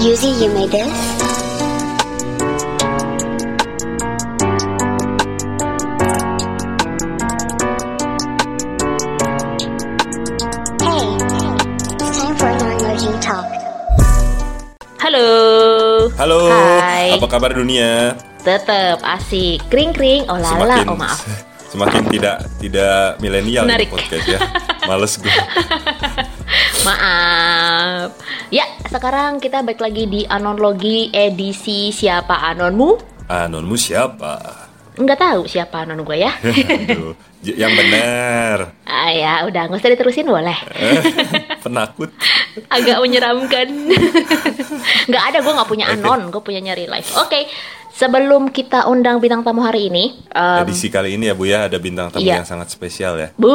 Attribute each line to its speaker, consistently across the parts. Speaker 1: Susie, you made this? Hey, it's time for non-merging talk.
Speaker 2: Halo.
Speaker 3: Halo,
Speaker 2: Hai.
Speaker 3: apa kabar dunia?
Speaker 2: Tetap asik. Kring kring. Oh lala. Oh maaf.
Speaker 3: semakin tidak tidak milenial
Speaker 2: Menarik.
Speaker 3: ini podcast ya. Males gue.
Speaker 2: Maaf. Ya, sekarang kita balik lagi di Anonlogi edisi siapa anonmu?
Speaker 3: Anonmu Ah, siapa?
Speaker 2: Nggak tahu siapa anon gue ya.
Speaker 3: Aduh, j- yang benar.
Speaker 2: ah ya, udah nggak usah diterusin boleh.
Speaker 3: Eh, Penakut.
Speaker 2: Agak menyeramkan. Nggak ada gue nggak punya anon, gue punya nyari live. Oke. Sebelum kita undang bintang tamu hari ini, em,
Speaker 3: Edisi kali ini ya Bu ya ada bintang tamu
Speaker 2: Iya.
Speaker 3: yang sangat spesial ya.
Speaker 2: Bu,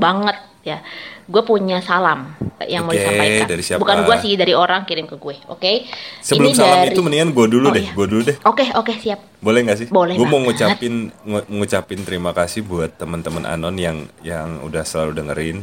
Speaker 2: banget ya. Gue punya salam yang mau
Speaker 3: Oke,
Speaker 2: disampaikan.
Speaker 3: dari siapa?
Speaker 2: Bukan gue sih, dari orang kirim ke gue. Oke. Ini
Speaker 3: Sebelum salam
Speaker 2: dari-
Speaker 3: itu mendingan gue dulu
Speaker 2: Oh,
Speaker 3: deh,
Speaker 2: iya.
Speaker 3: gue dulu deh.
Speaker 2: Oke, oke, siap.
Speaker 3: Boleh nggak sih?
Speaker 2: Boleh
Speaker 3: Gue mau
Speaker 2: banget.
Speaker 3: ngucapin ngu- ngucapin terima kasih buat teman-teman Anon yang yang udah selalu dengerin,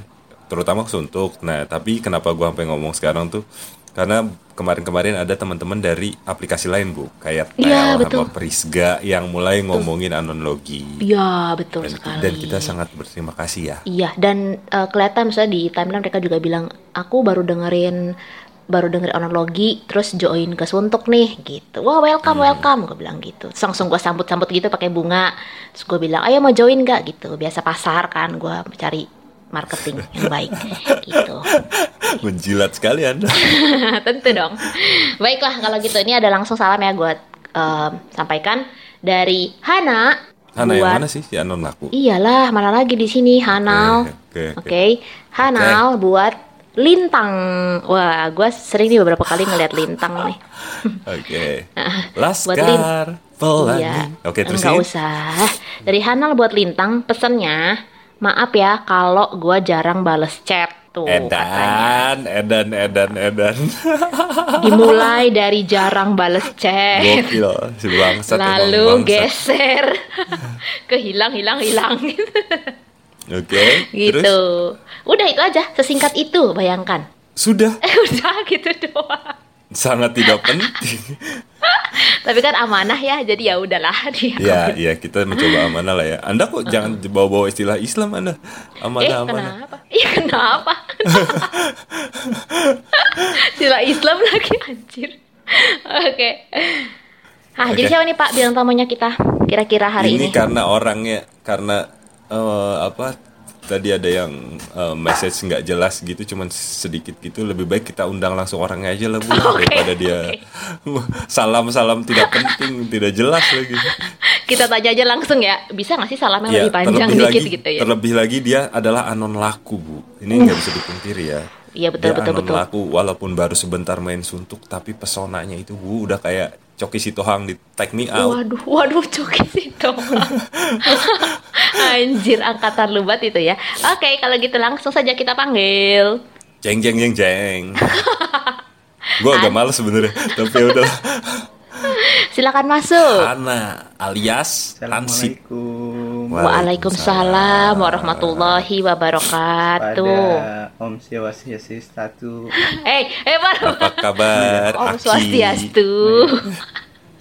Speaker 3: terutama Suntuk. Nah, tapi kenapa gue sampai ngomong sekarang tuh? Karena kemarin-kemarin ada teman-teman dari aplikasi lain bu, kayak
Speaker 2: Iya,
Speaker 3: Tel
Speaker 2: betul.
Speaker 3: sama Prisga yang mulai ngomongin Anonlogi.
Speaker 2: Iya, betul
Speaker 3: Dan,
Speaker 2: sekali.
Speaker 3: dan kita sangat berterima kasih ya.
Speaker 2: Iya, dan eh, kelihatan misalnya di timeline mereka juga bilang, "Aku baru dengerin baru dengerin onologi terus join ke Suntuk nih gitu. Wah, welcome,
Speaker 3: Hmm.
Speaker 2: welcome gue bilang gitu. Terus langsung gue sambut-sambut gitu pakai bunga. Terus gue bilang, "Ayo mau join gak?" gitu. Biasa pasar kan gue cari marketing yang baik gitu.
Speaker 3: Menjilat sekali anda.
Speaker 2: Tentu dong. Baiklah kalau gitu ini ada langsung salam ya gue sampaikan dari Hana.
Speaker 3: Hana yang
Speaker 2: buat-
Speaker 3: mana sih si Anon laku?
Speaker 2: Iyalah mana lagi di sini Hanal.
Speaker 3: Oke,
Speaker 2: Oke,
Speaker 3: oke, oke.
Speaker 2: Hanal buat lintang. Wah, gue sering nih beberapa kali ngeliat lintang nih.
Speaker 3: Oke.
Speaker 2: Ah, buat
Speaker 3: Laskar
Speaker 2: Lin.
Speaker 3: Pelangi.
Speaker 2: Iya.
Speaker 3: Oke terus
Speaker 2: Nggak
Speaker 3: ini?
Speaker 2: usah. Dari Hanal buat lintang pesennya, maaf ya kalau gue jarang bales chat tuh katanya.
Speaker 3: Edan, Edan, Edan, Edan.
Speaker 2: Dimulai dari jarang bales chat.
Speaker 3: Gokil si bangsat
Speaker 2: Eh,
Speaker 3: emang
Speaker 2: Lalu
Speaker 3: bangsat.
Speaker 2: geser ke hilang hilang hilang
Speaker 3: Oke
Speaker 2: gitu.
Speaker 3: terus
Speaker 2: Udah itu aja, sesingkat itu bayangkan.
Speaker 3: Sudah
Speaker 2: Eh udah gitu doang.
Speaker 3: Sangat tidak penting
Speaker 2: Tapi kan amanah ya, jadi ya udahlah dia.
Speaker 3: Ya ya kita mencoba amanah lah ya Anda kok jangan bawa-bawa istilah Islam Anda
Speaker 2: Ah. eh
Speaker 3: Amanah amanah
Speaker 2: kenapa? Iya kenapa? Sila Islam lagi anjir. Oke. Ah, jadi
Speaker 3: Oke.
Speaker 2: siapa nih Pak bilang tamunya kita kira-kira hari ini?
Speaker 3: Ini karena orangnya Karena eh, Apa Tadi ada yang eh, message nggak jelas gitu Cuman sedikit gitu Lebih baik kita undang langsung orangnya aja lah Bu
Speaker 2: Oke,
Speaker 3: Daripada dia Salam-salam tidak penting Tidak jelas lagi
Speaker 2: Kita tanya aja langsung ya. Bisa nggak sih salamnya
Speaker 3: Ya,
Speaker 2: lebih panjang
Speaker 3: terlebih
Speaker 2: dikit
Speaker 3: lagi-
Speaker 2: gitu ya?
Speaker 3: Terlebih lagi dia adalah anon laku, Bu. Ini nggak bisa dipungkiri ya.
Speaker 2: Iya, betul,
Speaker 3: Dia
Speaker 2: betul,
Speaker 3: anon
Speaker 2: betul.
Speaker 3: laku walaupun baru sebentar main suntuk tapi pesonanya itu Bu udah kayak Coki Sitohang di Take Me Out.
Speaker 2: Waduh, waduh, coki itu. Anjir, angkatan lubat itu ya. Oke, kalau gitu langsung saja kita panggil.
Speaker 3: Jeng jeng jeng jeng. Gua agak males sebenarnya, tapi ya udah
Speaker 2: Silakan masuk.
Speaker 3: Ana alias Hansip.
Speaker 4: Assalamualaikum
Speaker 2: Waalaikumsalam warahmatullahi wabarakatuh.
Speaker 4: pada Om Swastiastu Statu.
Speaker 2: Eh, eh, baru
Speaker 3: Apa kabar?
Speaker 2: Om
Speaker 3: Aki?
Speaker 2: Swastiastu.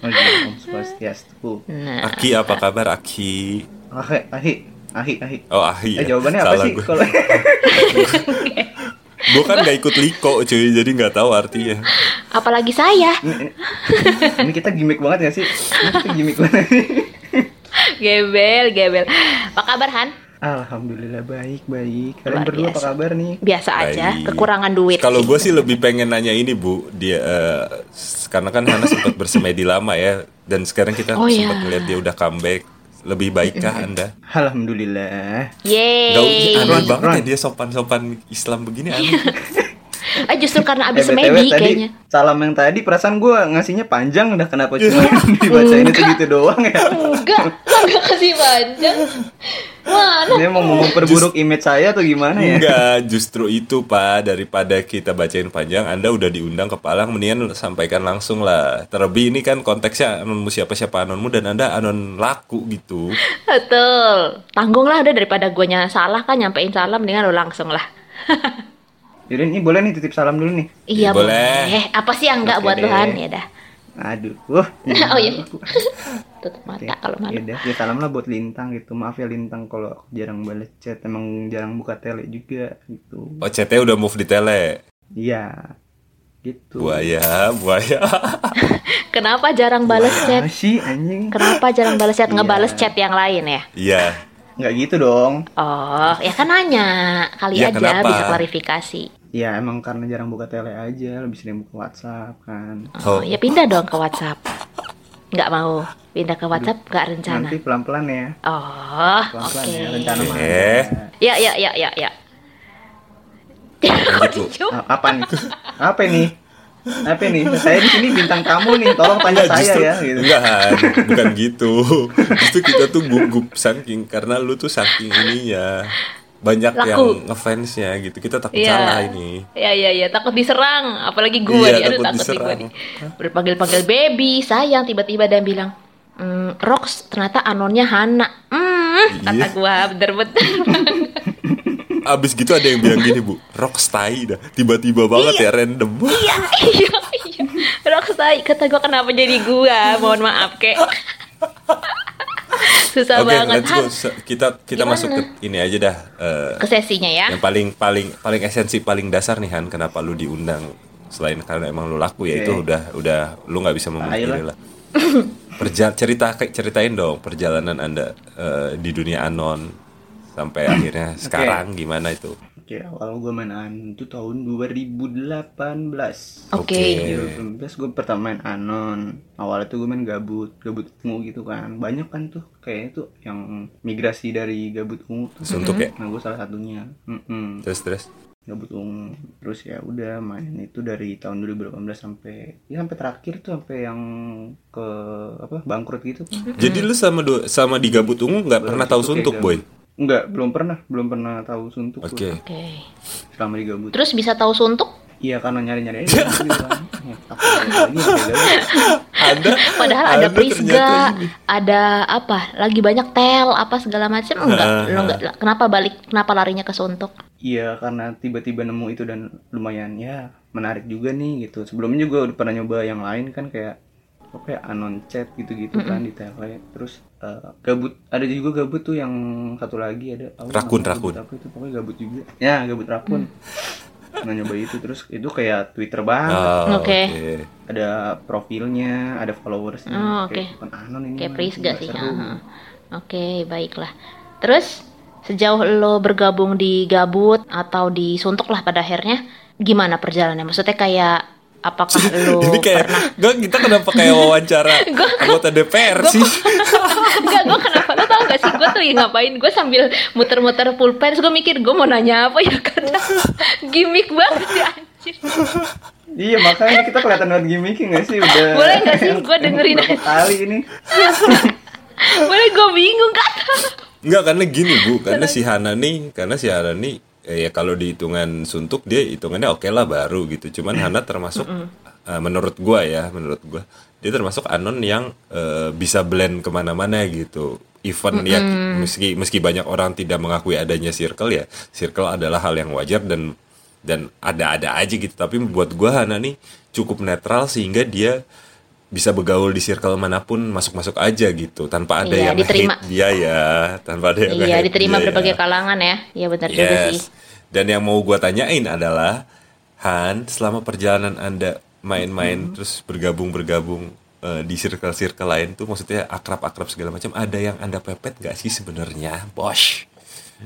Speaker 4: Oh iya, Om Swastiastu.
Speaker 2: Nah,
Speaker 3: Aki apa kabar Aki?
Speaker 4: Ahi, ahi, ahi, ahi.
Speaker 3: Oh Ahi.
Speaker 4: Eh,
Speaker 3: ya.
Speaker 4: jawabannya apa
Speaker 3: Salah
Speaker 4: sih?
Speaker 3: gua.
Speaker 4: Kalau
Speaker 3: Gua kan nggak ikut liko cuy, jadi nggak tahu artinya.
Speaker 2: apalagi saya.
Speaker 4: ini kita gimmick banget gak sih? Ini kita gimmick banget.
Speaker 2: Gebel, gebel. Apa kabar Han?
Speaker 4: Alhamdulillah baik, baik.
Speaker 2: Luar
Speaker 4: Kalian berdua apa
Speaker 2: biasa.
Speaker 4: kabar nih?
Speaker 2: Biasa aja,
Speaker 3: Baik.
Speaker 2: kekurangan duit.
Speaker 3: Kalau gue sih lebih pengen nanya ini bu, dia eh, s- karena kan Hana sempat bersemedi lama ya, dan sekarang kita
Speaker 2: Oh, iya.
Speaker 3: sempat melihat dia udah comeback. Lebih baikkah anda?
Speaker 4: Alhamdulillah.
Speaker 2: Yeay.
Speaker 3: Gak aneh
Speaker 4: Ron,
Speaker 3: banget ya
Speaker 4: Ron.
Speaker 3: dia sopan-sopan Islam begini.
Speaker 2: Iya.
Speaker 3: aneh.
Speaker 2: Eh, justru karena
Speaker 4: Eh,
Speaker 2: abis
Speaker 4: BTW
Speaker 2: medi
Speaker 4: tadi
Speaker 2: kayaknya.
Speaker 4: salam yang tadi perasaan gue ngasihnya panjang udah kenapa cuma dibacain itu gitu doang ya?
Speaker 2: Enggak, lo enggak kasih panjang. Mana?
Speaker 4: Ini mau memperburuk image saya atau gimana ya?
Speaker 3: Enggak, justru itu pak daripada kita bacain panjang, anda udah diundang ke Palang, mendingan sampaikan langsung lah. Terlebih ini kan konteksnya anonmu siapa siapa anonmu dan anda anon laku gitu.
Speaker 2: Betul. Tanggung lah udah daripada guanya salah kan nyampein salam dengan lo langsung lah.
Speaker 4: Yaudah ini boleh nih titip salam dulu nih.
Speaker 2: Iya
Speaker 3: Boleh.
Speaker 2: boleh. Apa sih yang enggak
Speaker 4: Oke
Speaker 2: buat
Speaker 4: deh.
Speaker 2: Tuhan ya dah.
Speaker 4: Aduh. Wah.
Speaker 2: Oh iya. Tutup mata kalau
Speaker 4: Ya
Speaker 2: malu.
Speaker 4: udah, ya salam lah buat Lintang gitu. Maaf ya Lintang kalau aku jarang balas chat, emang jarang buka tele juga gitu.
Speaker 3: Oh, CT udah move di tele.
Speaker 4: Iya. Gitu.
Speaker 3: Buaya, buaya.
Speaker 2: Kenapa jarang balas chat?
Speaker 4: Ah, sih anjing.
Speaker 2: Kenapa jarang balas chat? Ngebales
Speaker 4: Iya.
Speaker 2: chat yang lain ya?
Speaker 3: Iya.
Speaker 4: Nggak gitu dong.
Speaker 2: Oh, ya kan nanya. Kali
Speaker 3: Iya,
Speaker 2: aja
Speaker 3: kenapa?
Speaker 2: bisa klarifikasi.
Speaker 4: Ya emang karena jarang buka tele aja, lebih sering buka WhatsApp kan.
Speaker 2: Oh,
Speaker 3: Oh.
Speaker 2: ya pindah dong ke WhatsApp. Nggak mau pindah ke WhatsApp, nggak rencana.
Speaker 4: Nanti pelan-pelan ya.
Speaker 2: Oh, oke.
Speaker 4: Pelan-pelan ya, rencana
Speaker 3: Oke.
Speaker 4: mah.
Speaker 2: Ya, ya, ya, ya, ya.
Speaker 3: Lanjut, Bu.
Speaker 2: Cium.
Speaker 4: Ah, apa nih? Apa nih? Apa nih? Saya di sini bintang tamu nih, tolong tanya saya
Speaker 3: justru-
Speaker 4: ya gitu.
Speaker 3: Enggak, Han. bukan gitu. Justru kita tuh gugup saking karena lu tuh saking ininya banyak
Speaker 2: Laku.
Speaker 3: yang ngefansnya gitu. Kita takut
Speaker 2: Iya.
Speaker 3: salah ini.
Speaker 2: Ya, ya, ya. Takut diserang. Apalagi gue
Speaker 3: Iya,
Speaker 2: nih. Aduh,
Speaker 3: takut
Speaker 2: takut, nih gue
Speaker 3: diserang.
Speaker 2: nih. Berpanggil-panggil baby, sayang. Tiba-tiba dia bilang, "Mm, Rox, ternyata anonnya Hana. Hmm, kata
Speaker 3: Iya.
Speaker 2: gue bener-bener.
Speaker 3: Abis gitu ada yang bilang gini, Bu. Rockstai dah. Tiba-tiba banget ya random.
Speaker 2: iya, iya, iya. Rox, say, kata gue kenapa jadi gue? Mohon maaf, kek. Susah
Speaker 3: Oke,
Speaker 2: banget.
Speaker 3: let's go.
Speaker 2: Han,
Speaker 3: Se- Kita kita masuk ke ini aja dah. eh,
Speaker 2: Ke sesinya ya.
Speaker 3: yang paling paling paling esensi paling dasar nih Han, kenapa lu diundang selain karena emang lu laku ya
Speaker 4: Oke.
Speaker 3: itu udah udah lu nggak bisa
Speaker 4: Tai
Speaker 3: memungkiri
Speaker 4: lah.
Speaker 3: lah. Perja cerita kayak ceritain dong perjalanan anda eh, di dunia anon sampai akhirnya sekarang gimana itu?
Speaker 4: Oke, awal gue main Anon itu tahun 2018.
Speaker 2: Oke.
Speaker 3: Oke.
Speaker 4: 2019 gue pertama main Anon Awalnya tuh gue main gabut Gabut ungu gitu kan Banyak kan tuh Kayaknya tuh yang migrasi dari gabut ungu tuh
Speaker 3: Suntuk ya?
Speaker 4: Nah gue salah satunya Mm-mm.
Speaker 3: Terus terus.
Speaker 4: Gabut ungu Terus ya udah main itu dari tahun 2018 sampai Ya sampai terakhir tuh Sampai yang ke apa bangkrut gitu kan
Speaker 3: Jadi lu sama du- sama di gabut ungu nggak
Speaker 4: Belum
Speaker 3: pernah tahu
Speaker 4: suntuk ya,
Speaker 3: suntuk boy?
Speaker 4: Gam. Enggak, belum pernah Belum pernah tahu suntuk
Speaker 3: Oke.
Speaker 4: gue
Speaker 2: Oke.
Speaker 4: Selama di gabut
Speaker 2: Terus bisa tahu suntuk?
Speaker 4: Iya karena nyari-nyari aja gitu kan Ya, takut lagi, lagi.
Speaker 3: Anda
Speaker 2: Padahal ada
Speaker 3: Anda ternyata
Speaker 2: Prisga,
Speaker 3: ini.
Speaker 2: ada apa? Lagi banyak tel, apa segala macam
Speaker 3: Ah,
Speaker 2: enggak? Lo enggak kenapa balik? Kenapa larinya ke suntuk?
Speaker 4: Iya karena tiba-tiba nemu itu dan lumayan ya menarik juga nih gitu. Sebelumnya juga udah pernah nyoba yang lain kan kayak apa ya anon chat gitu-gitu kan di tele. Terus eh, gabut ada juga gabut tuh yang satu lagi ada oh,
Speaker 3: Rakun,
Speaker 4: namanya
Speaker 3: rakun.
Speaker 4: gabut Apa itu pokoknya gabut juga. Ya gabut rakun.
Speaker 2: Mm.
Speaker 4: Nah nyoba itu terus itu kayak Twitter banget.
Speaker 2: Ah,
Speaker 3: Oh,
Speaker 2: Oke.
Speaker 3: oke.
Speaker 4: Ada profilnya, ada followersnya.
Speaker 2: Oh, oke.
Speaker 4: Kayak bukan anon ini.
Speaker 3: Hmm,
Speaker 2: Kayak
Speaker 4: mah,
Speaker 2: Prisga
Speaker 4: nggak
Speaker 2: sih.
Speaker 4: seru.
Speaker 2: ah. Oke, baiklah. Terus sejauh lo bergabung di Gabut atau di Suntuk lah pada akhirnya, gimana perjalanannya? Maksudnya kayak apakah lo
Speaker 3: Ini kayak
Speaker 2: pernah
Speaker 3: gua- kita kenapa kayak wawancara
Speaker 2: Gua-
Speaker 3: anggota DPR sih?
Speaker 2: Enggak, gue kenapa? Lo tau gak sih gue tuh ya ngapain? Gue sambil muter-muter pulpen, gue mikir gue mau nanya apa ya karena gimmick banget sih anjir.
Speaker 4: Iya makanya kita kelihatan banget gimmicknya gak sih udah
Speaker 2: Boleh nggak sih? Gua dengerin
Speaker 4: Berapa
Speaker 2: aja.
Speaker 4: kali ini
Speaker 2: Boleh gue bingung kan?
Speaker 3: Enggak karena gini bu, karena si Hana nih, karena si Hana nih eh, ya kalau dihitungan suntuk dia hitungannya oke lah baru gitu. Cuman Hana termasuk eh, menurut gua ya, menurut gua dia termasuk anon yang eh, bisa blend kemana-mana gitu. Even ya meski meski banyak orang tidak mengakui adanya circle ya, circle adalah hal yang wajar dan dan ada-ada aja gitu. Tapi buat gua Hana nih cukup netral sehingga dia bisa bergaul di circle manapun masuk-masuk aja gitu tanpa ada
Speaker 2: Iya,
Speaker 3: yang
Speaker 2: diterima.
Speaker 3: hate dia ya tanpa ada yang
Speaker 2: Iya,
Speaker 3: nge-hate
Speaker 2: diterima
Speaker 3: dia
Speaker 2: berbagai
Speaker 3: ya.
Speaker 2: kalangan ya. Iya benar juga sih.
Speaker 3: yes dan yang mau gua tanyain adalah Han selama perjalanan anda main-main
Speaker 2: Mm-hmm.
Speaker 3: terus bergabung-bergabung eh, di circle-circle lain tuh maksudnya akrab-akrab segala macam ada yang anda pepet gak sih sebenarnya bos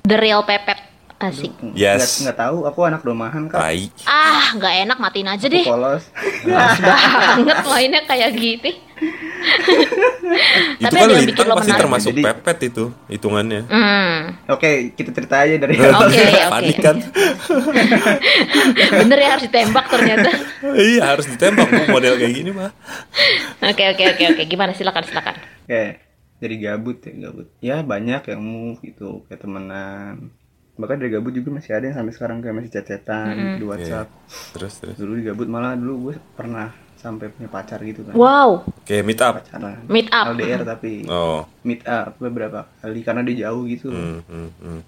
Speaker 2: The real pepet asik.
Speaker 3: Yes.
Speaker 4: nggak, nggak tahu aku anak domahan kak
Speaker 3: tai
Speaker 2: Ah, nggak enak matiin aja
Speaker 4: Aku
Speaker 2: deh.
Speaker 4: polos
Speaker 2: Banget mainnya kayak gitu.
Speaker 3: itu
Speaker 2: Tapi
Speaker 3: kan
Speaker 2: ada yang bikin
Speaker 3: lintang
Speaker 2: lo
Speaker 3: pasti
Speaker 2: menarik.
Speaker 3: termasuk
Speaker 4: Jadi-
Speaker 3: pepet itu hitungannya
Speaker 2: Hmm,
Speaker 4: Oke kita cerita aja dari
Speaker 2: Oke, oke.
Speaker 3: Panik kan?
Speaker 2: bener ya harus ditembak ternyata.
Speaker 3: iya harus ditembak Bu, model kayak gini mah
Speaker 2: Oke, oke, oke, oke. Gimana? Silakan, silakan.
Speaker 4: Oke dari gabut ya gabut ya banyak yang move gitu kayak temenan bahkan dari gabut juga masih ada yang sampai sekarang kayak masih chat-chatan di WhatsApp
Speaker 3: Iya. terus terus
Speaker 4: dulu di gabut malah dulu gue pernah sampai punya pacar gitu kan
Speaker 2: Wow,
Speaker 3: oke meet up
Speaker 4: pacaran
Speaker 2: meet up.
Speaker 4: LDR tapi
Speaker 3: oh
Speaker 4: meet up beberapa kali karena dia
Speaker 3: Mm.
Speaker 4: jauh gitu loh
Speaker 3: Hmm, hmm,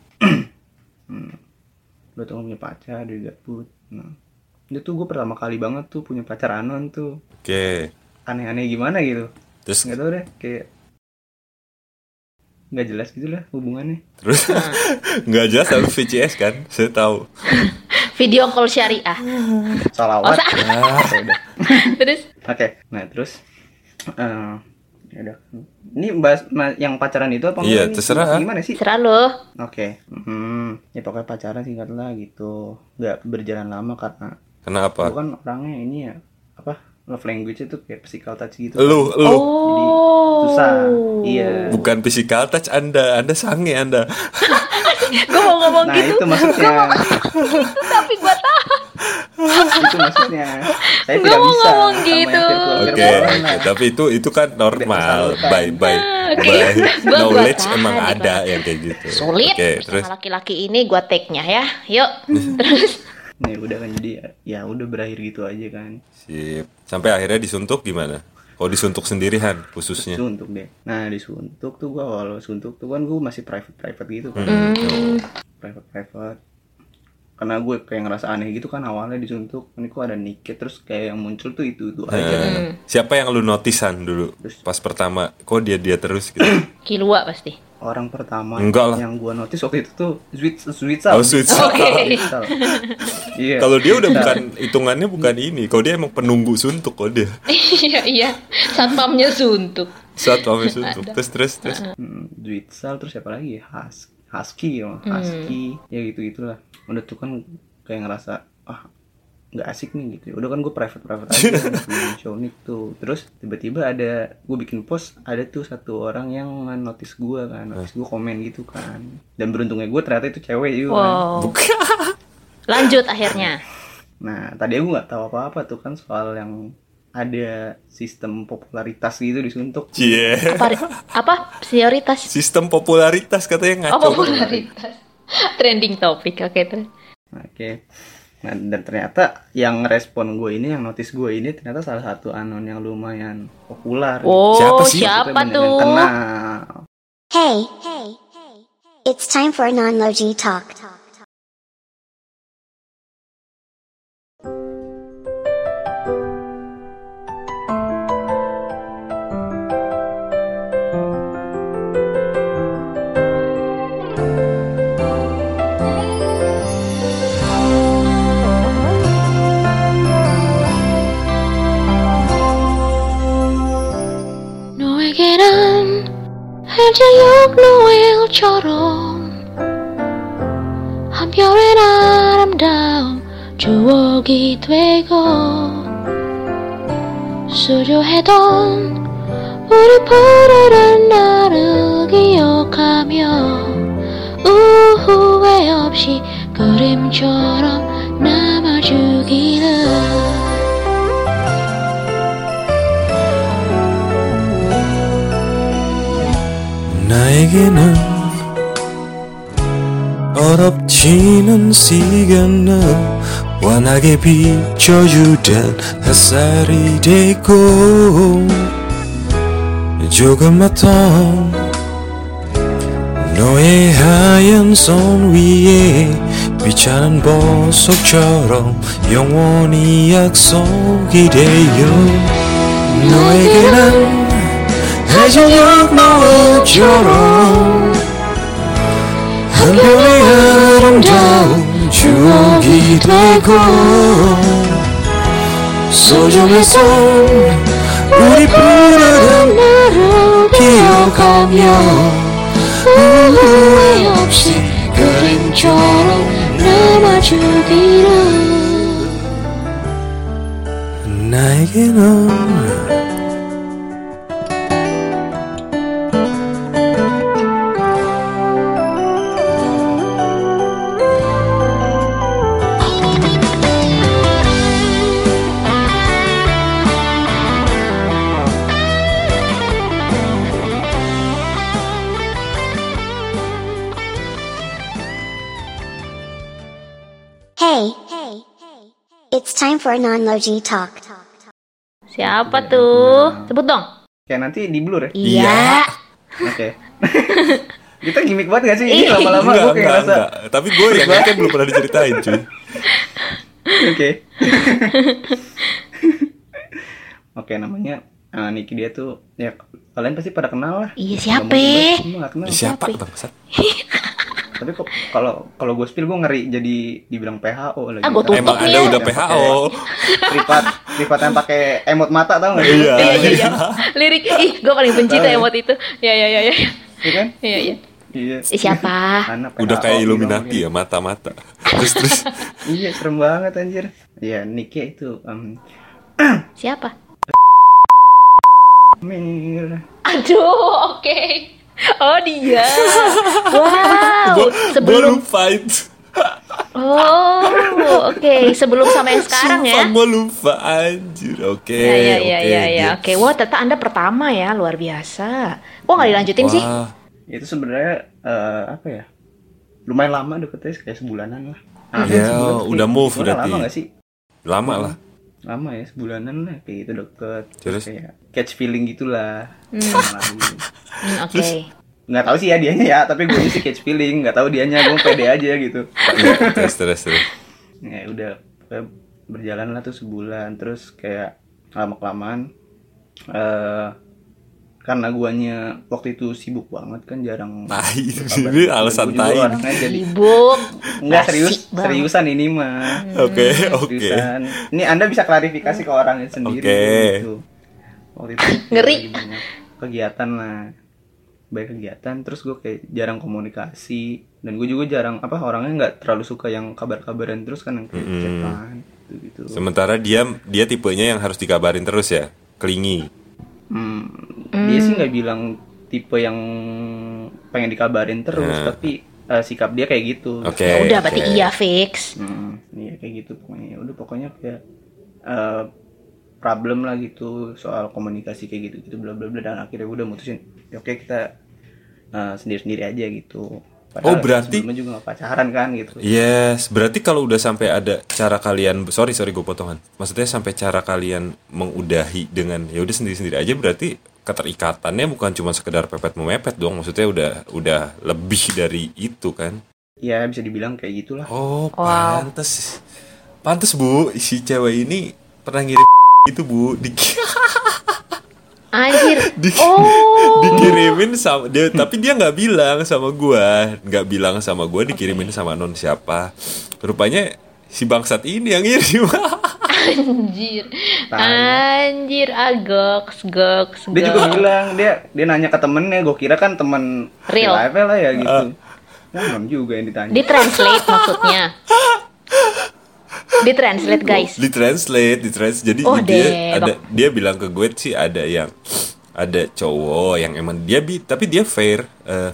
Speaker 3: hmm.
Speaker 4: lo tuh punya pacar dia gabut Nah, itu tuh gue pertama kali banget tuh punya pacar anon tuh
Speaker 3: Oke.
Speaker 4: aneh-aneh gimana gitu
Speaker 3: Terus
Speaker 4: nggak tau deh kayak nggak jelas gitu lah hubungannya
Speaker 3: terus
Speaker 2: Hmm.
Speaker 3: nggak jelas tapi VCS kan? Saya tahu.
Speaker 2: Video call syariah.
Speaker 4: salawat
Speaker 2: sa-
Speaker 4: Ah, ya udah.
Speaker 2: Terus
Speaker 4: oke nah terus eh, ya udah ini bahas ma- yang pacaran itu
Speaker 3: Iya,
Speaker 4: apa enggak ini?
Speaker 3: terserah.
Speaker 4: gimana sih
Speaker 2: serah lo.
Speaker 4: Oke, hmm, ya pokoknya pacaran singkat lah gitu, nggak berjalan lama karena
Speaker 3: Kenapa?
Speaker 4: gua kan orangnya ini ya apa love language itu kayak physical touch gitu.
Speaker 3: Lu lu
Speaker 2: Oh.
Speaker 4: susah. Iya.
Speaker 3: bukan physical touch Anda, Anda sange Anda.
Speaker 2: Gue mau ngomong
Speaker 4: Nah
Speaker 2: gitu,
Speaker 4: itu maksudnya,
Speaker 2: tapi gue tahan.
Speaker 4: itu maksudnya. Saya
Speaker 2: Gua
Speaker 4: tidak
Speaker 2: mau
Speaker 4: bisa
Speaker 2: ngomong
Speaker 4: sama
Speaker 2: gitu.
Speaker 4: yang virtual
Speaker 3: Oke,
Speaker 4: virtualan lah.
Speaker 3: oke, tapi itu itu kan normal.
Speaker 4: Biasa
Speaker 3: Bye bye.
Speaker 2: Oke.
Speaker 3: Bye.
Speaker 2: Gua- gua
Speaker 3: Knowledge
Speaker 2: tahan
Speaker 3: emang
Speaker 2: nih,
Speaker 3: ada
Speaker 2: gua-
Speaker 3: yang kayak gitu.
Speaker 2: Sulit
Speaker 3: Oke, terus
Speaker 2: bersama laki-laki ini gue take-nya ya. Yuk. Terus
Speaker 4: Nah udah kan jadi ya udah berakhir gitu aja kan.
Speaker 3: sip. Sampai akhirnya disuntuk gimana? Kalau disuntuk sendirian khususnya.
Speaker 4: Suntuk deh. Nah disuntuk tuh gua kalau suntuk tuh kan gua masih private private gitu kan.
Speaker 2: Mm.
Speaker 3: Hmm.
Speaker 4: private private karena gue kayak ngerasa aneh gitu kan awalnya disuntuk ini kok ada niket terus kayak yang muncul tuh itu itu aja
Speaker 2: Hmm.
Speaker 3: Nah, siapa yang lu notisan dulu pas pertama? Kok dia dia terus gitu?
Speaker 2: kilua pasti.
Speaker 4: orang pertama
Speaker 3: Enggak lah.
Speaker 4: yang gue notice waktu itu tuh Zwitz Zwitzel
Speaker 3: Oh, sweet
Speaker 2: Oke.
Speaker 4: Zwitzel. iya
Speaker 3: Kalau dia udah bukan hitungannya bukan ini. Kalau dia emang penunggu suntuk kok dia.
Speaker 2: iya iya. Satpamnya suntuk.
Speaker 3: Saat pamit suntuk. Terus terus terus.
Speaker 4: Hmm, Zwitzel terus siapa lagi ya? Hus Husky ya Husky ya gitu gitulah udah tuh kan kayak ngerasa ah nggak asik nih gitu udah kan gue private private aja di show nih tuh terus tiba-tiba ada gue bikin post ada tuh satu orang yang notice gue kan notice gue komen gitu kan dan beruntungnya gue ternyata itu cewek juga kan.
Speaker 2: Wow. Lanjut akhirnya.
Speaker 4: nah tadi gue nggak tahu apa-apa tuh kan soal yang ada sistem popularitas gitu disuntuk
Speaker 3: Cie.
Speaker 2: Apa, apa? prioritas?
Speaker 3: Sistem eh, popularitas
Speaker 2: Oh,
Speaker 3: katanya ngaco.
Speaker 2: popularitas. Trending topik. Oke, terus.
Speaker 4: Oke. Nah, dan ternyata yang respon gue ini, yang notice gue ini ternyata salah satu anon yang lumayan populer.
Speaker 2: Oh, siapa,
Speaker 3: Siapa sih?
Speaker 4: Maksudnya banyak yang
Speaker 2: tuh?
Speaker 4: kenal.
Speaker 1: Hey, hey, hey. It's time for non-logy talk.
Speaker 5: Nuegeran Herjayok Noel Chorom Hampiore Naramdam Juwogi Twego 수려했던 우리 포로란 나를 기억하며 우후회 없이 그림처럼 남아주기를
Speaker 6: 나에게는 어렵지는 시간은 환하게 비춰주던 햇살이 되고 조금만 더 너의 하얀 손 위에 비치는 보석처럼 영원히 약속이 돼요 너에게는 해저녁 노을처럼 한편의 아름다운 추억이 되고 소중했던 우리 부르는
Speaker 5: 나를 기억하며
Speaker 6: 기억하며
Speaker 5: 후회 없이 그림처럼 남아주기를
Speaker 6: 나에게는
Speaker 1: Hey, hey, hey. It's time for non-logy talk.
Speaker 2: Siapa tuh? Sebut dong.
Speaker 4: Kayak nanti di blur ya.
Speaker 2: Iya.
Speaker 4: Oke. Kita gimmick
Speaker 2: Iya.
Speaker 4: banget gak sih? Ini lama-lama
Speaker 3: enggak,
Speaker 4: gue kayak
Speaker 3: enggak,
Speaker 4: ngerasa
Speaker 3: enggak. Tapi gue yang kan belum pernah diceritain cuy.
Speaker 4: Oke. Oke namanya ah, Niki dia tuh ya kalian pasti pada kenal lah.
Speaker 2: Iya, siapa?
Speaker 4: Ngomong-ngomong, Gue gak kenal.
Speaker 3: Siapa bangsat?
Speaker 4: Tapi kok kalau kalau gue spill gue ngeri jadi dibilang PHO lagi.
Speaker 2: Ah, gua tutup
Speaker 3: Emang
Speaker 2: nih.
Speaker 3: ada udah PHO.
Speaker 4: Privat privat yang pakai emot mata tau gak?
Speaker 2: Iya,
Speaker 3: Iya.
Speaker 2: iya, iya. Lirik, ih, gue paling benci tuh emot itu. Iya, iya, iya, iya.
Speaker 4: Iya kan?
Speaker 2: Iya, iya.
Speaker 4: Iya.
Speaker 2: Eh, Siapa?
Speaker 4: Anak
Speaker 3: Udah
Speaker 4: PHO,
Speaker 3: kayak
Speaker 4: bilang
Speaker 3: Illuminati
Speaker 4: gitu.
Speaker 3: ya mata-mata. Terus terus
Speaker 4: Iya serem banget anjir. Iya Niki itu um, em,
Speaker 2: Siapa?
Speaker 4: merah.
Speaker 2: Aduh, oke. Oh dia. Wow.
Speaker 3: gua
Speaker 2: Sebelum
Speaker 3: lupa itu.
Speaker 2: Oh, oke. Sebelum sama yang sekarang ya.
Speaker 3: Sumpah gua lupa anjir. Oke.
Speaker 2: Ya ya ya
Speaker 3: oke,
Speaker 2: ya ya.
Speaker 3: dia-
Speaker 2: Oke, wah ternyata Anda pertama ya, luar biasa. Kok nggak dilanjutin sih?
Speaker 3: Wah,
Speaker 4: itu sebenarnya eh, apa ya lumayan lama deketnya kayak sebulanan lah Ah,
Speaker 3: Iya,
Speaker 4: sebulan sih.
Speaker 3: udah move
Speaker 4: Sebulan
Speaker 3: berarti.
Speaker 4: lama gak sih
Speaker 3: Lama lah.
Speaker 4: lama ya sebulanan lah kayak gitu deket
Speaker 3: Terus?
Speaker 4: kayak catch feeling gitulah hmm.
Speaker 2: Hmm, oke.
Speaker 4: nggak tahu sih ya dianya ya tapi gue sih catch feeling nggak tahu dianya gue pede aja gitu
Speaker 3: Iya, terus terus terus.
Speaker 4: ya udah pokoknya berjalan lah tuh sebulan terus kayak lama kelamaan eh karena guanya waktu itu sibuk banget kan jarang
Speaker 3: Tai,
Speaker 4: berkabar.
Speaker 3: Nah, ini alasan
Speaker 4: Gua juga
Speaker 3: tai.
Speaker 4: orangnya jadi
Speaker 2: Sibuk.
Speaker 4: Enggak
Speaker 2: Basi
Speaker 4: serius,
Speaker 2: banget.
Speaker 4: seriusan ini mah.
Speaker 3: Hmm,
Speaker 4: Hmm,
Speaker 3: Oke, oke.
Speaker 4: Seriusan. Ini Anda bisa klarifikasi ke orangnya sendiri
Speaker 3: Oke.
Speaker 4: gitu. Waktu itu
Speaker 2: Ngeri.
Speaker 4: lagi banyak kegiatan lah. Banyak kegiatan terus gue kayak jarang komunikasi dan gue juga jarang apa orangnya nggak terlalu suka yang kabar-kabaran terus kan yang kayak
Speaker 3: Mm-mm.
Speaker 4: chatan gitu. gitu.
Speaker 3: Sementara dia dia tipenya yang harus dikabarin terus ya, kelingi.
Speaker 4: Hmm, Dia sih nggak bilang tipe yang pengen dikabarin terus
Speaker 3: Nah.
Speaker 4: tapi eh, sikap dia kayak gitu.
Speaker 3: Oke.
Speaker 2: Ya udah berarti
Speaker 3: Eh, oke.
Speaker 2: iya fix.
Speaker 4: Hmm, iya kayak gitu pokoknya. Udah pokoknya kayak eh, problem lah gitu soal komunikasi kayak gitu gitu bla bla bla dan akhirnya gua udah mutusin "Ya oke kita sendiri sendiri aja gitu.
Speaker 3: Oh, berarti- Iya.
Speaker 4: sebelumnya juga gak pacaran kan gitu.
Speaker 3: Yes, berarti kalau udah sampai ada cara kalian, sorry sorry gue potongan. Maksudnya sampai cara kalian mengudahi dengan ya udah sendiri sendiri aja berarti keterikatannya bukan cuma sekedar pepet memepet dong. Maksudnya udah udah lebih dari itu kan.
Speaker 4: Ya bisa dibilang kayak gitulah.
Speaker 3: Oh,
Speaker 2: Wow.
Speaker 3: pantes. Pantes, Bu. Si cewek ini pernah ngirim itu, Bu. Di-
Speaker 2: Anjir.
Speaker 3: di-
Speaker 2: Oh.
Speaker 3: dikirimin sama dia, tapi dia nggak bilang sama gua. Nggak bilang sama gua dikirimin sama non siapa. Rupanya si bangsat ini yang ngirim.
Speaker 2: Anjir.
Speaker 4: Tanya.
Speaker 2: Anjir, agok, goks,
Speaker 3: Oh,
Speaker 4: Dia juga
Speaker 2: goks.
Speaker 4: bilang dia dia nanya ke temennya, gue kira kan temen
Speaker 2: Real.
Speaker 4: live lah ya gitu.
Speaker 3: Eh.
Speaker 4: Nah, belum juga yang ditanya.
Speaker 2: Di translate maksudnya. Di translate guys.
Speaker 3: di translate, di translate. Jadi
Speaker 2: Oh,
Speaker 3: dia
Speaker 2: debak.
Speaker 3: ada dia bilang ke gue sih ada yang ada cowok yang emang dia bi tapi dia fair eh,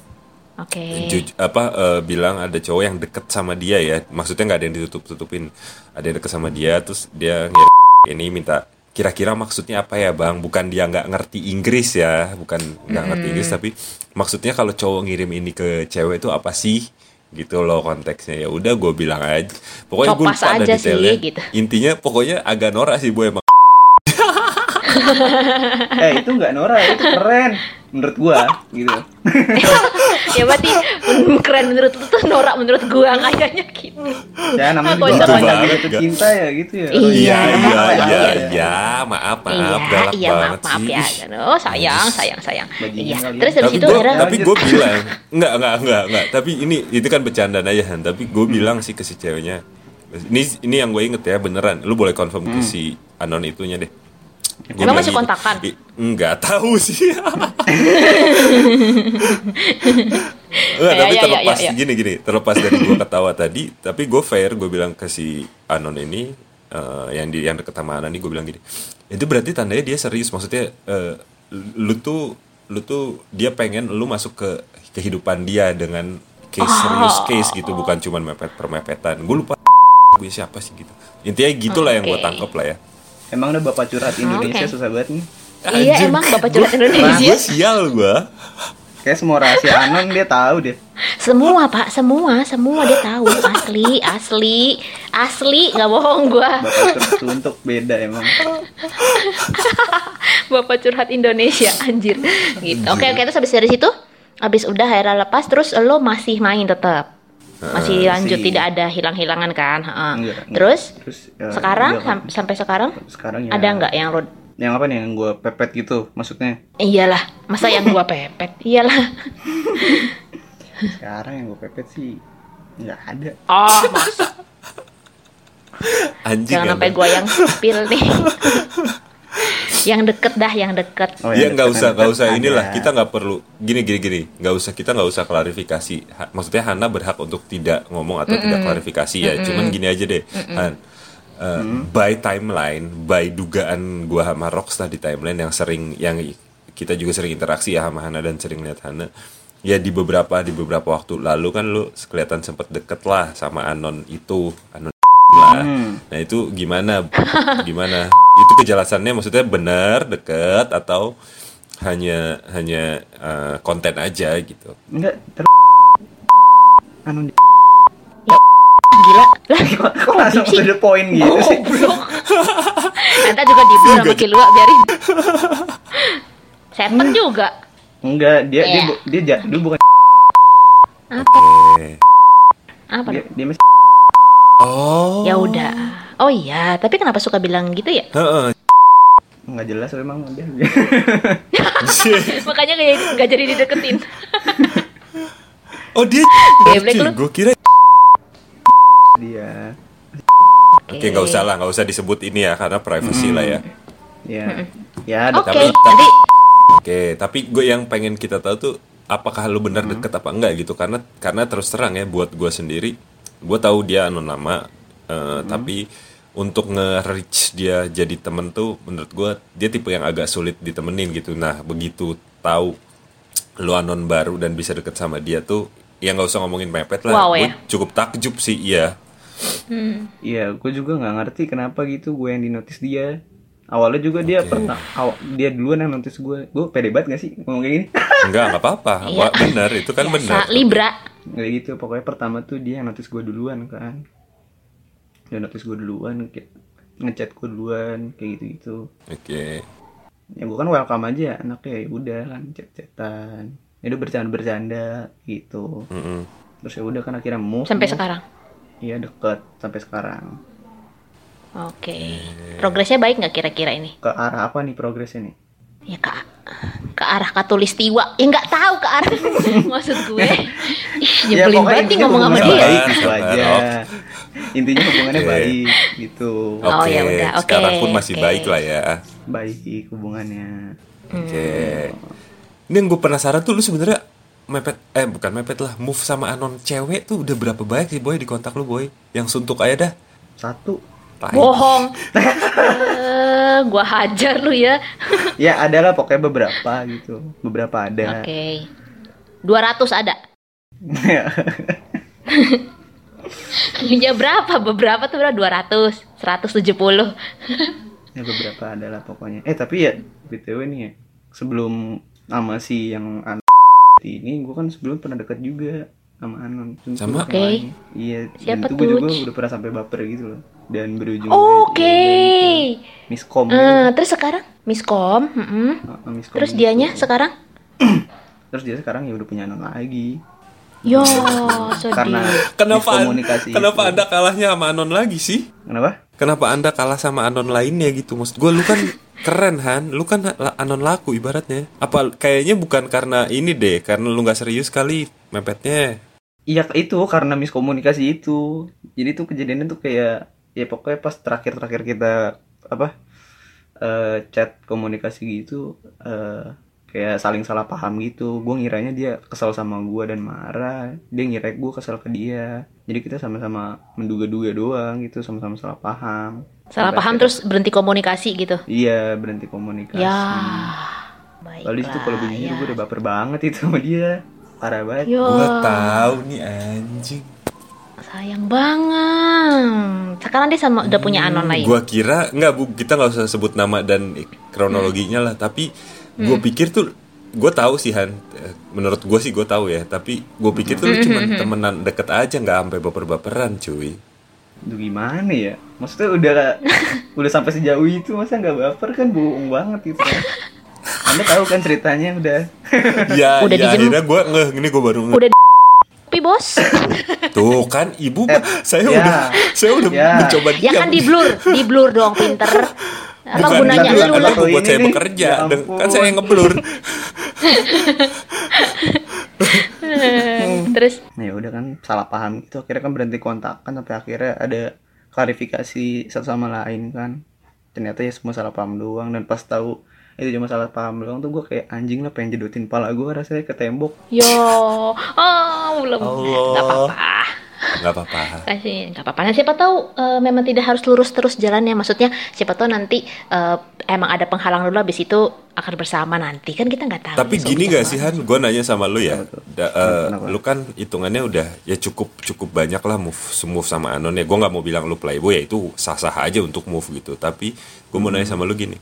Speaker 2: Oke.
Speaker 3: Ju- apa eh, bilang ada cowok yang deket sama dia ya maksudnya nggak ada yang ditutup tutupin ada yang deket sama dia terus dia ngirim ini minta kira-kira maksudnya apa ya bang bukan dia nggak ngerti Inggris ya bukan nggak
Speaker 2: Hmm.
Speaker 3: ngerti Inggris tapi maksudnya kalau cowok ngirim ini ke cewek itu apa sih gitu loh konteksnya ya udah gue bilang aja pokoknya gue
Speaker 2: Copas
Speaker 3: lupa ada
Speaker 2: aja sih,
Speaker 3: detailnya
Speaker 2: gitu.
Speaker 3: intinya pokoknya agak norak sih bu emang
Speaker 4: Eh itu nggak Nora, itu keren menurut gua gitu.
Speaker 2: ya berarti mm, keren menurut lu tuh norak menurut gua kayaknya gitu.
Speaker 4: Ya namanya
Speaker 2: Aku
Speaker 4: juga
Speaker 2: juga
Speaker 4: orang
Speaker 3: banget.
Speaker 4: jatuh cinta ya gitu ya.
Speaker 2: Iya,
Speaker 3: iya iya iya
Speaker 4: Apa ya, apa ya.
Speaker 3: iya maaf maaf
Speaker 2: iya,
Speaker 3: galak
Speaker 2: iya maaf
Speaker 3: banget
Speaker 2: maaf
Speaker 3: sih
Speaker 2: ya.
Speaker 3: Ih.
Speaker 2: Oh sayang, sayang, sayang.
Speaker 4: Bajingan
Speaker 2: Iya.
Speaker 4: kali.
Speaker 2: Terus habis
Speaker 3: tapi
Speaker 2: itu
Speaker 3: gue
Speaker 2: akhirnya
Speaker 3: tapi gue bilang nggak nggak nggak nggak tapi ini itu kan bercandaan aja Han. tapi
Speaker 2: Hmm.
Speaker 3: gue bilang sih ke si ceweknya ini ini yang gue inget ya beneran lu boleh confirm ke si anon itunya deh Gua
Speaker 2: Hmm. Emang
Speaker 3: bilang
Speaker 2: masih
Speaker 3: gitu.
Speaker 2: kontakan?
Speaker 3: I- nggak tahu sih Nggak,
Speaker 2: Ya,
Speaker 3: tapi
Speaker 2: ya, ya,
Speaker 3: terlepas
Speaker 2: ya, ya.
Speaker 3: gini gini terlepas dari gue ketawa tadi tapi gue fair gue bilang ke si anon ini eh, yang di yang deket sama anon ini gue bilang gini itu berarti tandanya dia serius maksudnya eh, lu tuh lu tuh dia pengen lu masuk ke kehidupan dia dengan case
Speaker 2: Ah.
Speaker 3: serius case gitu bukan cuman mepet permepetan gue lupa gue siapa sih gitu intinya gitulah yang gue
Speaker 2: Oke.
Speaker 3: tangkep lah ya
Speaker 4: Emang ada bapak curhat Indonesia
Speaker 2: Ah, Oke.
Speaker 4: susah banget nih.
Speaker 2: Iya,
Speaker 3: Anjir,
Speaker 2: emang Bapak Curhat
Speaker 3: gua-
Speaker 2: Indonesia.
Speaker 3: gua sial gue
Speaker 4: Kayak semua rahasia Anon dia tahu deh.
Speaker 2: semua Pak, semua, semua dia tahu asli, asli, asli, nggak bohong gua.
Speaker 4: Bapak curhat tuh untuk beda emang.
Speaker 2: Bapak curhat Indonesia, anjir. Gitu. Oke, oke terus habis dari situ habis udah akhirnya lepas terus lo masih main tetap.
Speaker 3: Ah,
Speaker 2: Masih lanjut
Speaker 4: masih.
Speaker 2: tidak ada hilang-hilangan kan? Heeh.
Speaker 4: Enggak, enggak.
Speaker 2: Terus
Speaker 4: Terus, eh,
Speaker 2: sekarang
Speaker 4: enggak,
Speaker 2: sam- sampai sekarang
Speaker 4: sekarang ya
Speaker 2: ada nggak yang lo
Speaker 4: yang apa nih yang gue pepet gitu maksudnya
Speaker 2: Iyalah, masa yang gua pepet? Iyalah.
Speaker 4: sekarang yang gue pepet sih nggak ada
Speaker 2: Oh, mas,
Speaker 3: Anjing
Speaker 2: jangan sampai
Speaker 3: Anda.
Speaker 2: gua yang spill nih. yang deket dah, yang deket.
Speaker 4: Oh, yang
Speaker 3: Ya nggak
Speaker 4: deket-
Speaker 3: usah, nggak
Speaker 4: deket
Speaker 3: usah
Speaker 4: ada.
Speaker 3: inilah. Kita nggak perlu gini gini gini. Nggak usah kita nggak usah klarifikasi. Ha- maksudnya Hana berhak untuk tidak ngomong atau tidak klarifikasi ya. Cuman gini aja deh, Han. Eh, By timeline, by dugaan gua sama Rockstar di timeline yang sering yang kita juga sering interaksi ya sama Hana dan sering lihat Hana. Ya di beberapa di beberapa waktu lalu kan lu kelihatan sempet deket lah sama Anon itu, Anon lah. Nah itu gimana? Gimana? itu kejelasannya maksudnya benar deket atau hanya hanya eh, konten aja gitu.
Speaker 4: enggak ter anu di
Speaker 2: Gila. Lah,
Speaker 4: kok, kok langsung to the point
Speaker 2: Oh.
Speaker 4: gitu sih
Speaker 2: Nanti juga di sama Kilua biarin. Setan juga.
Speaker 4: enggak dia dia
Speaker 2: Iya.
Speaker 4: bu- dia ja- dia bukan
Speaker 3: Oke.
Speaker 2: Apa?
Speaker 4: dia, dia masih
Speaker 3: Oh.
Speaker 2: Ya udah. Oh iya, tapi kenapa suka bilang gitu ya?
Speaker 3: Heeh.
Speaker 4: nggak jelas memang dia
Speaker 2: Makanya gak, nggak jadi dideketin.
Speaker 3: Oh dia.
Speaker 2: Geblek lu.
Speaker 3: Gue kira.
Speaker 4: dia
Speaker 3: Oke nggak usah lah, nggak usah disebut ini ya karena privacy lah ya.
Speaker 4: ya ya ada
Speaker 2: Oke,
Speaker 3: Tapi-
Speaker 2: nanti
Speaker 3: Oke, tapi gue yang pengen kita tahu tuh apakah lu benar
Speaker 2: Hmm.
Speaker 3: deket apa enggak gitu karena karena terus terang ya buat gue sendiri, gue tahu dia anon lama,
Speaker 2: Hmm.
Speaker 3: eh, tapi untuk nge-reach dia jadi temen tuh menurut gue dia tipe yang agak sulit ditemenin gitu. Nah begitu tahu lu anon baru dan bisa deket sama dia tuh, ya nggak usah ngomongin mepet lah.
Speaker 2: Wow,
Speaker 3: Gue
Speaker 2: ya.
Speaker 3: cukup takjub sih, iya.
Speaker 4: Iya, gue juga nggak ngerti kenapa gitu gue yang dinotis dia. Awalnya juga dia pernah, aw- dia duluan yang notice gue. Gue pede banget gak sih ngomong kayak gini?
Speaker 3: Enggak, nggak apa-apa.
Speaker 2: Iya.
Speaker 3: Wah, Bener, itu kan bener.
Speaker 2: biasa Libra.
Speaker 4: Gak gitu, pokoknya pertama tuh dia yang notice gue duluan kan. Dia notice gue duluan, kayak ngechat gue duluan, kayak gitu-gitu.
Speaker 3: Oke.
Speaker 4: Ya gue kan welcome aja, anaknya ya udah kan chat-chatan. Ya udah bercanda-bercanda gitu.
Speaker 3: Mm-mm.
Speaker 4: Terus ya udah kan akhirnya move.
Speaker 2: Sampai
Speaker 4: move.
Speaker 2: sekarang.
Speaker 4: Iya deket sampai sekarang.
Speaker 2: Oke. Progresnya baik nggak kira-kira ini?
Speaker 4: Ke arah apa nih progresnya nih?
Speaker 2: Ya ke ke arah katulistiwa. Ya nggak tahu ke arah. Maksud gue. Ih, nyebelin
Speaker 4: Ya, pokoknya gitu,
Speaker 2: banget nih
Speaker 4: intinya
Speaker 2: ngomong sama dia.
Speaker 4: hubungannya
Speaker 3: baik.
Speaker 4: baik, gitu
Speaker 3: Sabar,
Speaker 4: aja.
Speaker 3: Rob.
Speaker 4: Intinya hubungannya
Speaker 3: Oke.
Speaker 4: baik gitu.
Speaker 3: Oke,
Speaker 2: Oh, ya udah, oke,
Speaker 3: sekarang pun masih
Speaker 2: oke.
Speaker 3: baik lah ya.
Speaker 4: Baik hubungannya.
Speaker 3: Oke. Hmm. Ini yang gue penasaran tuh lu sebenarnya mepet eh bukan mepet lah move sama anon cewek tuh udah berapa banyak sih boy di kontak lu boy yang suntuk aja dah
Speaker 4: Satu.
Speaker 3: Tai.
Speaker 2: Bohong. Eh, gua hajar lu ya.
Speaker 4: Ya adalah pokoknya beberapa gitu. Beberapa ada.
Speaker 2: Oke. 200 ada. Ya berapa? Beberapa tuh berapa? 200, 170.
Speaker 4: ya beberapa adalah pokoknya. Eh tapi ya BTW nih ya. Sebelum sama si yang anon ini gue kan sebelum pernah deket juga sama Anon Suntuk
Speaker 3: Sama?
Speaker 4: yang
Speaker 2: Oke.
Speaker 4: lain. Iya, dan
Speaker 2: Siapa
Speaker 4: itu gue juga
Speaker 2: tuh?
Speaker 4: udah pernah sampai baper gitu loh. Dan berujung
Speaker 2: Oke.
Speaker 4: iya, kayak miskom.
Speaker 2: Eh, terus sekarang miskom, mm-mm.
Speaker 4: Heeh, miskom
Speaker 2: Terus
Speaker 4: gitu.
Speaker 2: dianya sekarang?
Speaker 4: terus dia sekarang ya udah punya anak lagi
Speaker 2: Yo, sedih.
Speaker 4: karena
Speaker 3: kenapa
Speaker 4: komunikasi
Speaker 3: kenapa anda kalahnya sama anon lagi sih
Speaker 4: kenapa
Speaker 3: kenapa anda kalah sama anon lainnya gitu maksud gue lu kan keren han lu kan la- anon laku ibaratnya apa kayaknya bukan karena ini deh karena lu nggak serius kali mepetnya
Speaker 4: iya itu karena miskomunikasi itu jadi tuh kejadiannya tuh kayak ya pokoknya pas terakhir terakhir kita apa eh, chat komunikasi gitu eh, kayak saling salah paham gitu gue ngiranya dia kesel sama gua dan marah dia ngira gue kesel ke dia jadi kita sama-sama menduga-duga doang gitu sama-sama salah paham
Speaker 2: Salah
Speaker 4: Sampai
Speaker 2: paham
Speaker 4: akhirnya-
Speaker 2: terus berhenti komunikasi gitu.
Speaker 4: iya berhenti komunikasi
Speaker 2: Ya.
Speaker 4: Lalu itu kalau gue jujur
Speaker 2: ya.
Speaker 4: gue udah baper banget itu sama dia Parah banget
Speaker 2: Yo,
Speaker 3: gue tahu nih anjing
Speaker 2: sayang banget. Sekarang dia sama udah punya anon lain.
Speaker 3: Hmm, Gua kira nggak bu, kita nggak usah sebut nama dan kronologinya lah. Tapi
Speaker 2: Hmm.
Speaker 3: gue pikir tuh, gue tahu sih Han. Eh, Menurut gue sih gue tahu ya. Tapi gue pikir
Speaker 2: Hmm.
Speaker 3: tuh lu cuman temenan deket aja, nggak sampai baper-baperan, cuy.
Speaker 4: Duh gimana ya Maksudnya udah udah sampai sejauh itu Masa nggak baper kan bohong banget gitu kan Anda tahu kan ceritanya udah
Speaker 3: Ya,
Speaker 2: Udah
Speaker 3: ya
Speaker 2: dijem-
Speaker 3: akhirnya gue ngeh, ini gue baru ngeh.
Speaker 2: Udah kopi bos
Speaker 3: Tuh kan ibu mah saya
Speaker 4: ya.
Speaker 3: udah saya udah
Speaker 4: Ya.
Speaker 3: mencoba
Speaker 2: Eh, ya
Speaker 3: diam.
Speaker 2: kan di blur di blur dong pinter apa
Speaker 3: Bukan
Speaker 2: gunanya
Speaker 3: diam,
Speaker 2: lu
Speaker 3: kan
Speaker 2: lah
Speaker 3: ibu buat
Speaker 4: Ini
Speaker 3: saya
Speaker 4: nih.
Speaker 3: bekerja.
Speaker 4: Ya
Speaker 3: Deng- kan
Speaker 4: ampun.
Speaker 3: saya yang ngeblur.
Speaker 2: terus
Speaker 4: Nah ya udah kan salah paham itu akhirnya kan berhenti kontak kan sampai akhirnya ada klarifikasi satu sama lain kan. Ternyata ya semua salah paham doang dan pas tahu itu cuma salah paham doang tuh gue kayak anjing lah pengen jedotin pala gue rasanya ke tembok.
Speaker 2: yo oh belum
Speaker 3: Allah.
Speaker 2: nggak apa-apa
Speaker 3: Nggak apa-apa.
Speaker 2: kasih nggak apa-apa nah, siapa tahu eh, memang tidak harus lurus terus jalannya maksudnya siapa tahu nanti eh, emang ada penghalang dulu habis itu akan bersama nanti kan kita nggak tahu
Speaker 3: Tapi
Speaker 2: So,
Speaker 3: gini
Speaker 2: kita
Speaker 3: gak sih Han, gue nanya sama lu ya,
Speaker 4: Kenapa tuh?
Speaker 3: Da- eh,
Speaker 4: Kenapa?
Speaker 3: lu kan hitungannya udah ya cukup cukup banyak lah move move sama Anon ya. Gue nggak mau bilang lu playboy ya itu sah sah aja untuk move gitu. Tapi gue mau nanya sama lu gini,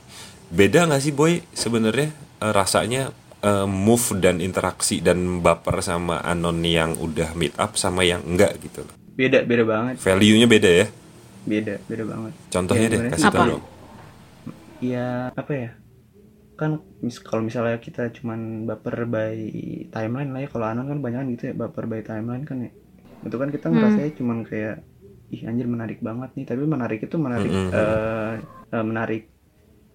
Speaker 3: beda nggak sih boy sebenarnya eh, rasanya eh, move dan interaksi dan baper sama Anon yang udah meet up sama yang enggak gitu. loh.
Speaker 4: Beda beda banget.
Speaker 3: Value-nya beda ya.
Speaker 4: Beda beda banget.
Speaker 3: Contohnya
Speaker 4: Ya,
Speaker 3: deh,
Speaker 4: gimana
Speaker 3: kasih
Speaker 2: Apa?
Speaker 3: tau dong.
Speaker 4: Iya apa ya kan mis kalau misalnya kita cuman baper by timeline lah ya kalau anon kan banyak gitu ya baper by timeline kan ya itu kan kita ngerasanya cuman kayak ih anjir menarik banget nih tapi menarik itu menarik
Speaker 3: Mm-mm.
Speaker 4: eh, eh, menarik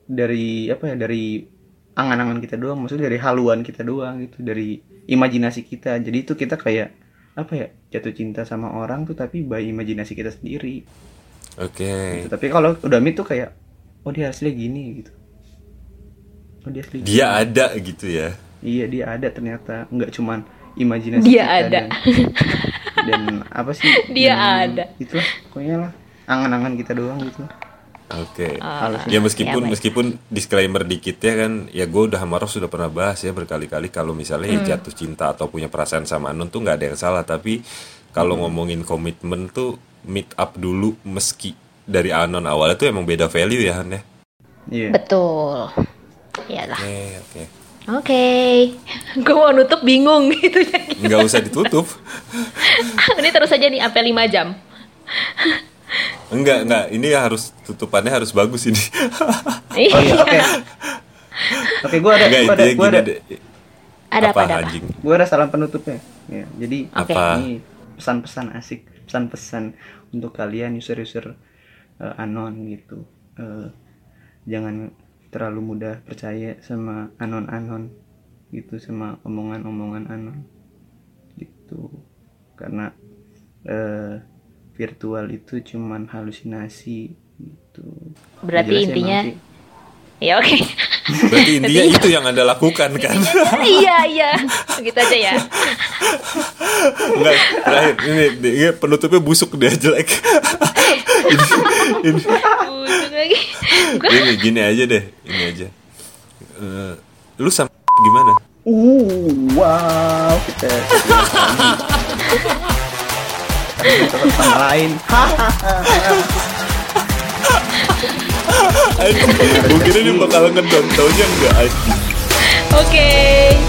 Speaker 4: dari apa ya dari angan-angan kita doang maksudnya dari haluan kita doang gitu dari imajinasi kita jadi itu kita kayak apa ya jatuh cinta sama orang tuh tapi by imajinasi kita sendiri
Speaker 3: Oke.
Speaker 4: gitu. tapi kalau udah meet tuh kayak oh dia asli gini gitu oh dia asli gini.
Speaker 3: Dia ada gitu ya.
Speaker 4: iya dia ada ternyata nggak cuman imajinasi
Speaker 2: Dia
Speaker 4: kita
Speaker 2: ada.
Speaker 4: dan, dan apa sih
Speaker 2: Dia
Speaker 4: dan
Speaker 2: ada.
Speaker 4: itulah pokoknya lah angan-angan kita doang gitu
Speaker 3: Oke.
Speaker 4: halus
Speaker 3: Ya meskipun
Speaker 2: Oh, Iya, baik.
Speaker 3: meskipun disclaimer dikit ya kan ya gue udah sama Ros sudah pernah bahas ya berkali-kali kalau misalnya
Speaker 2: Hmm.
Speaker 3: ya jatuh cinta atau punya perasaan sama Anun tuh nggak ada yang salah tapi kalau ngomongin komitmen tuh meet up dulu meski dari Anon awalnya tuh emang beda value ya Han ya.
Speaker 4: iya
Speaker 2: betul iyalah
Speaker 3: Oke oke.
Speaker 2: oke gue mau nutup bingung gitu ya
Speaker 3: Nggak usah ditutup.
Speaker 2: ini terus aja nih sampai 5 jam
Speaker 3: Enggak enggak ini harus tutupannya harus bagus ini.
Speaker 4: oh iya oke oke gue ada
Speaker 3: Enggak
Speaker 4: gue ada
Speaker 3: intinya
Speaker 4: gue
Speaker 3: gini
Speaker 4: ada
Speaker 3: deh.
Speaker 2: ada apa, ada apa?
Speaker 3: anjing?
Speaker 4: gue ada salam penutupnya ya jadi
Speaker 2: Oke.
Speaker 3: Apa?
Speaker 4: ini pesan-pesan asik pesan-pesan untuk kalian user-user eh, anon gitu Eh, jangan terlalu mudah percaya sama anon-anon gitu sama omongan-omongan anon gitu karena eh, virtual itu cuman halusinasi gitu
Speaker 2: Berarti
Speaker 4: Jelas ya,
Speaker 2: intinya-
Speaker 4: nanti.
Speaker 2: ya oke
Speaker 3: Berarti intinya itu yang anda lakukan kan?
Speaker 2: iya iya gitu aja ya
Speaker 3: Enggak, terakhir ini, ini penutupnya busuk dia jelek. ini,
Speaker 2: Busuk lagi
Speaker 3: ini, ini gini aja deh, ini aja. Eh, lu sama gimana?
Speaker 4: Uh, wow, kita kita sama lain.
Speaker 3: Anjing, gue kira dia bakal ngedon, taunya enggak anjing.
Speaker 2: oke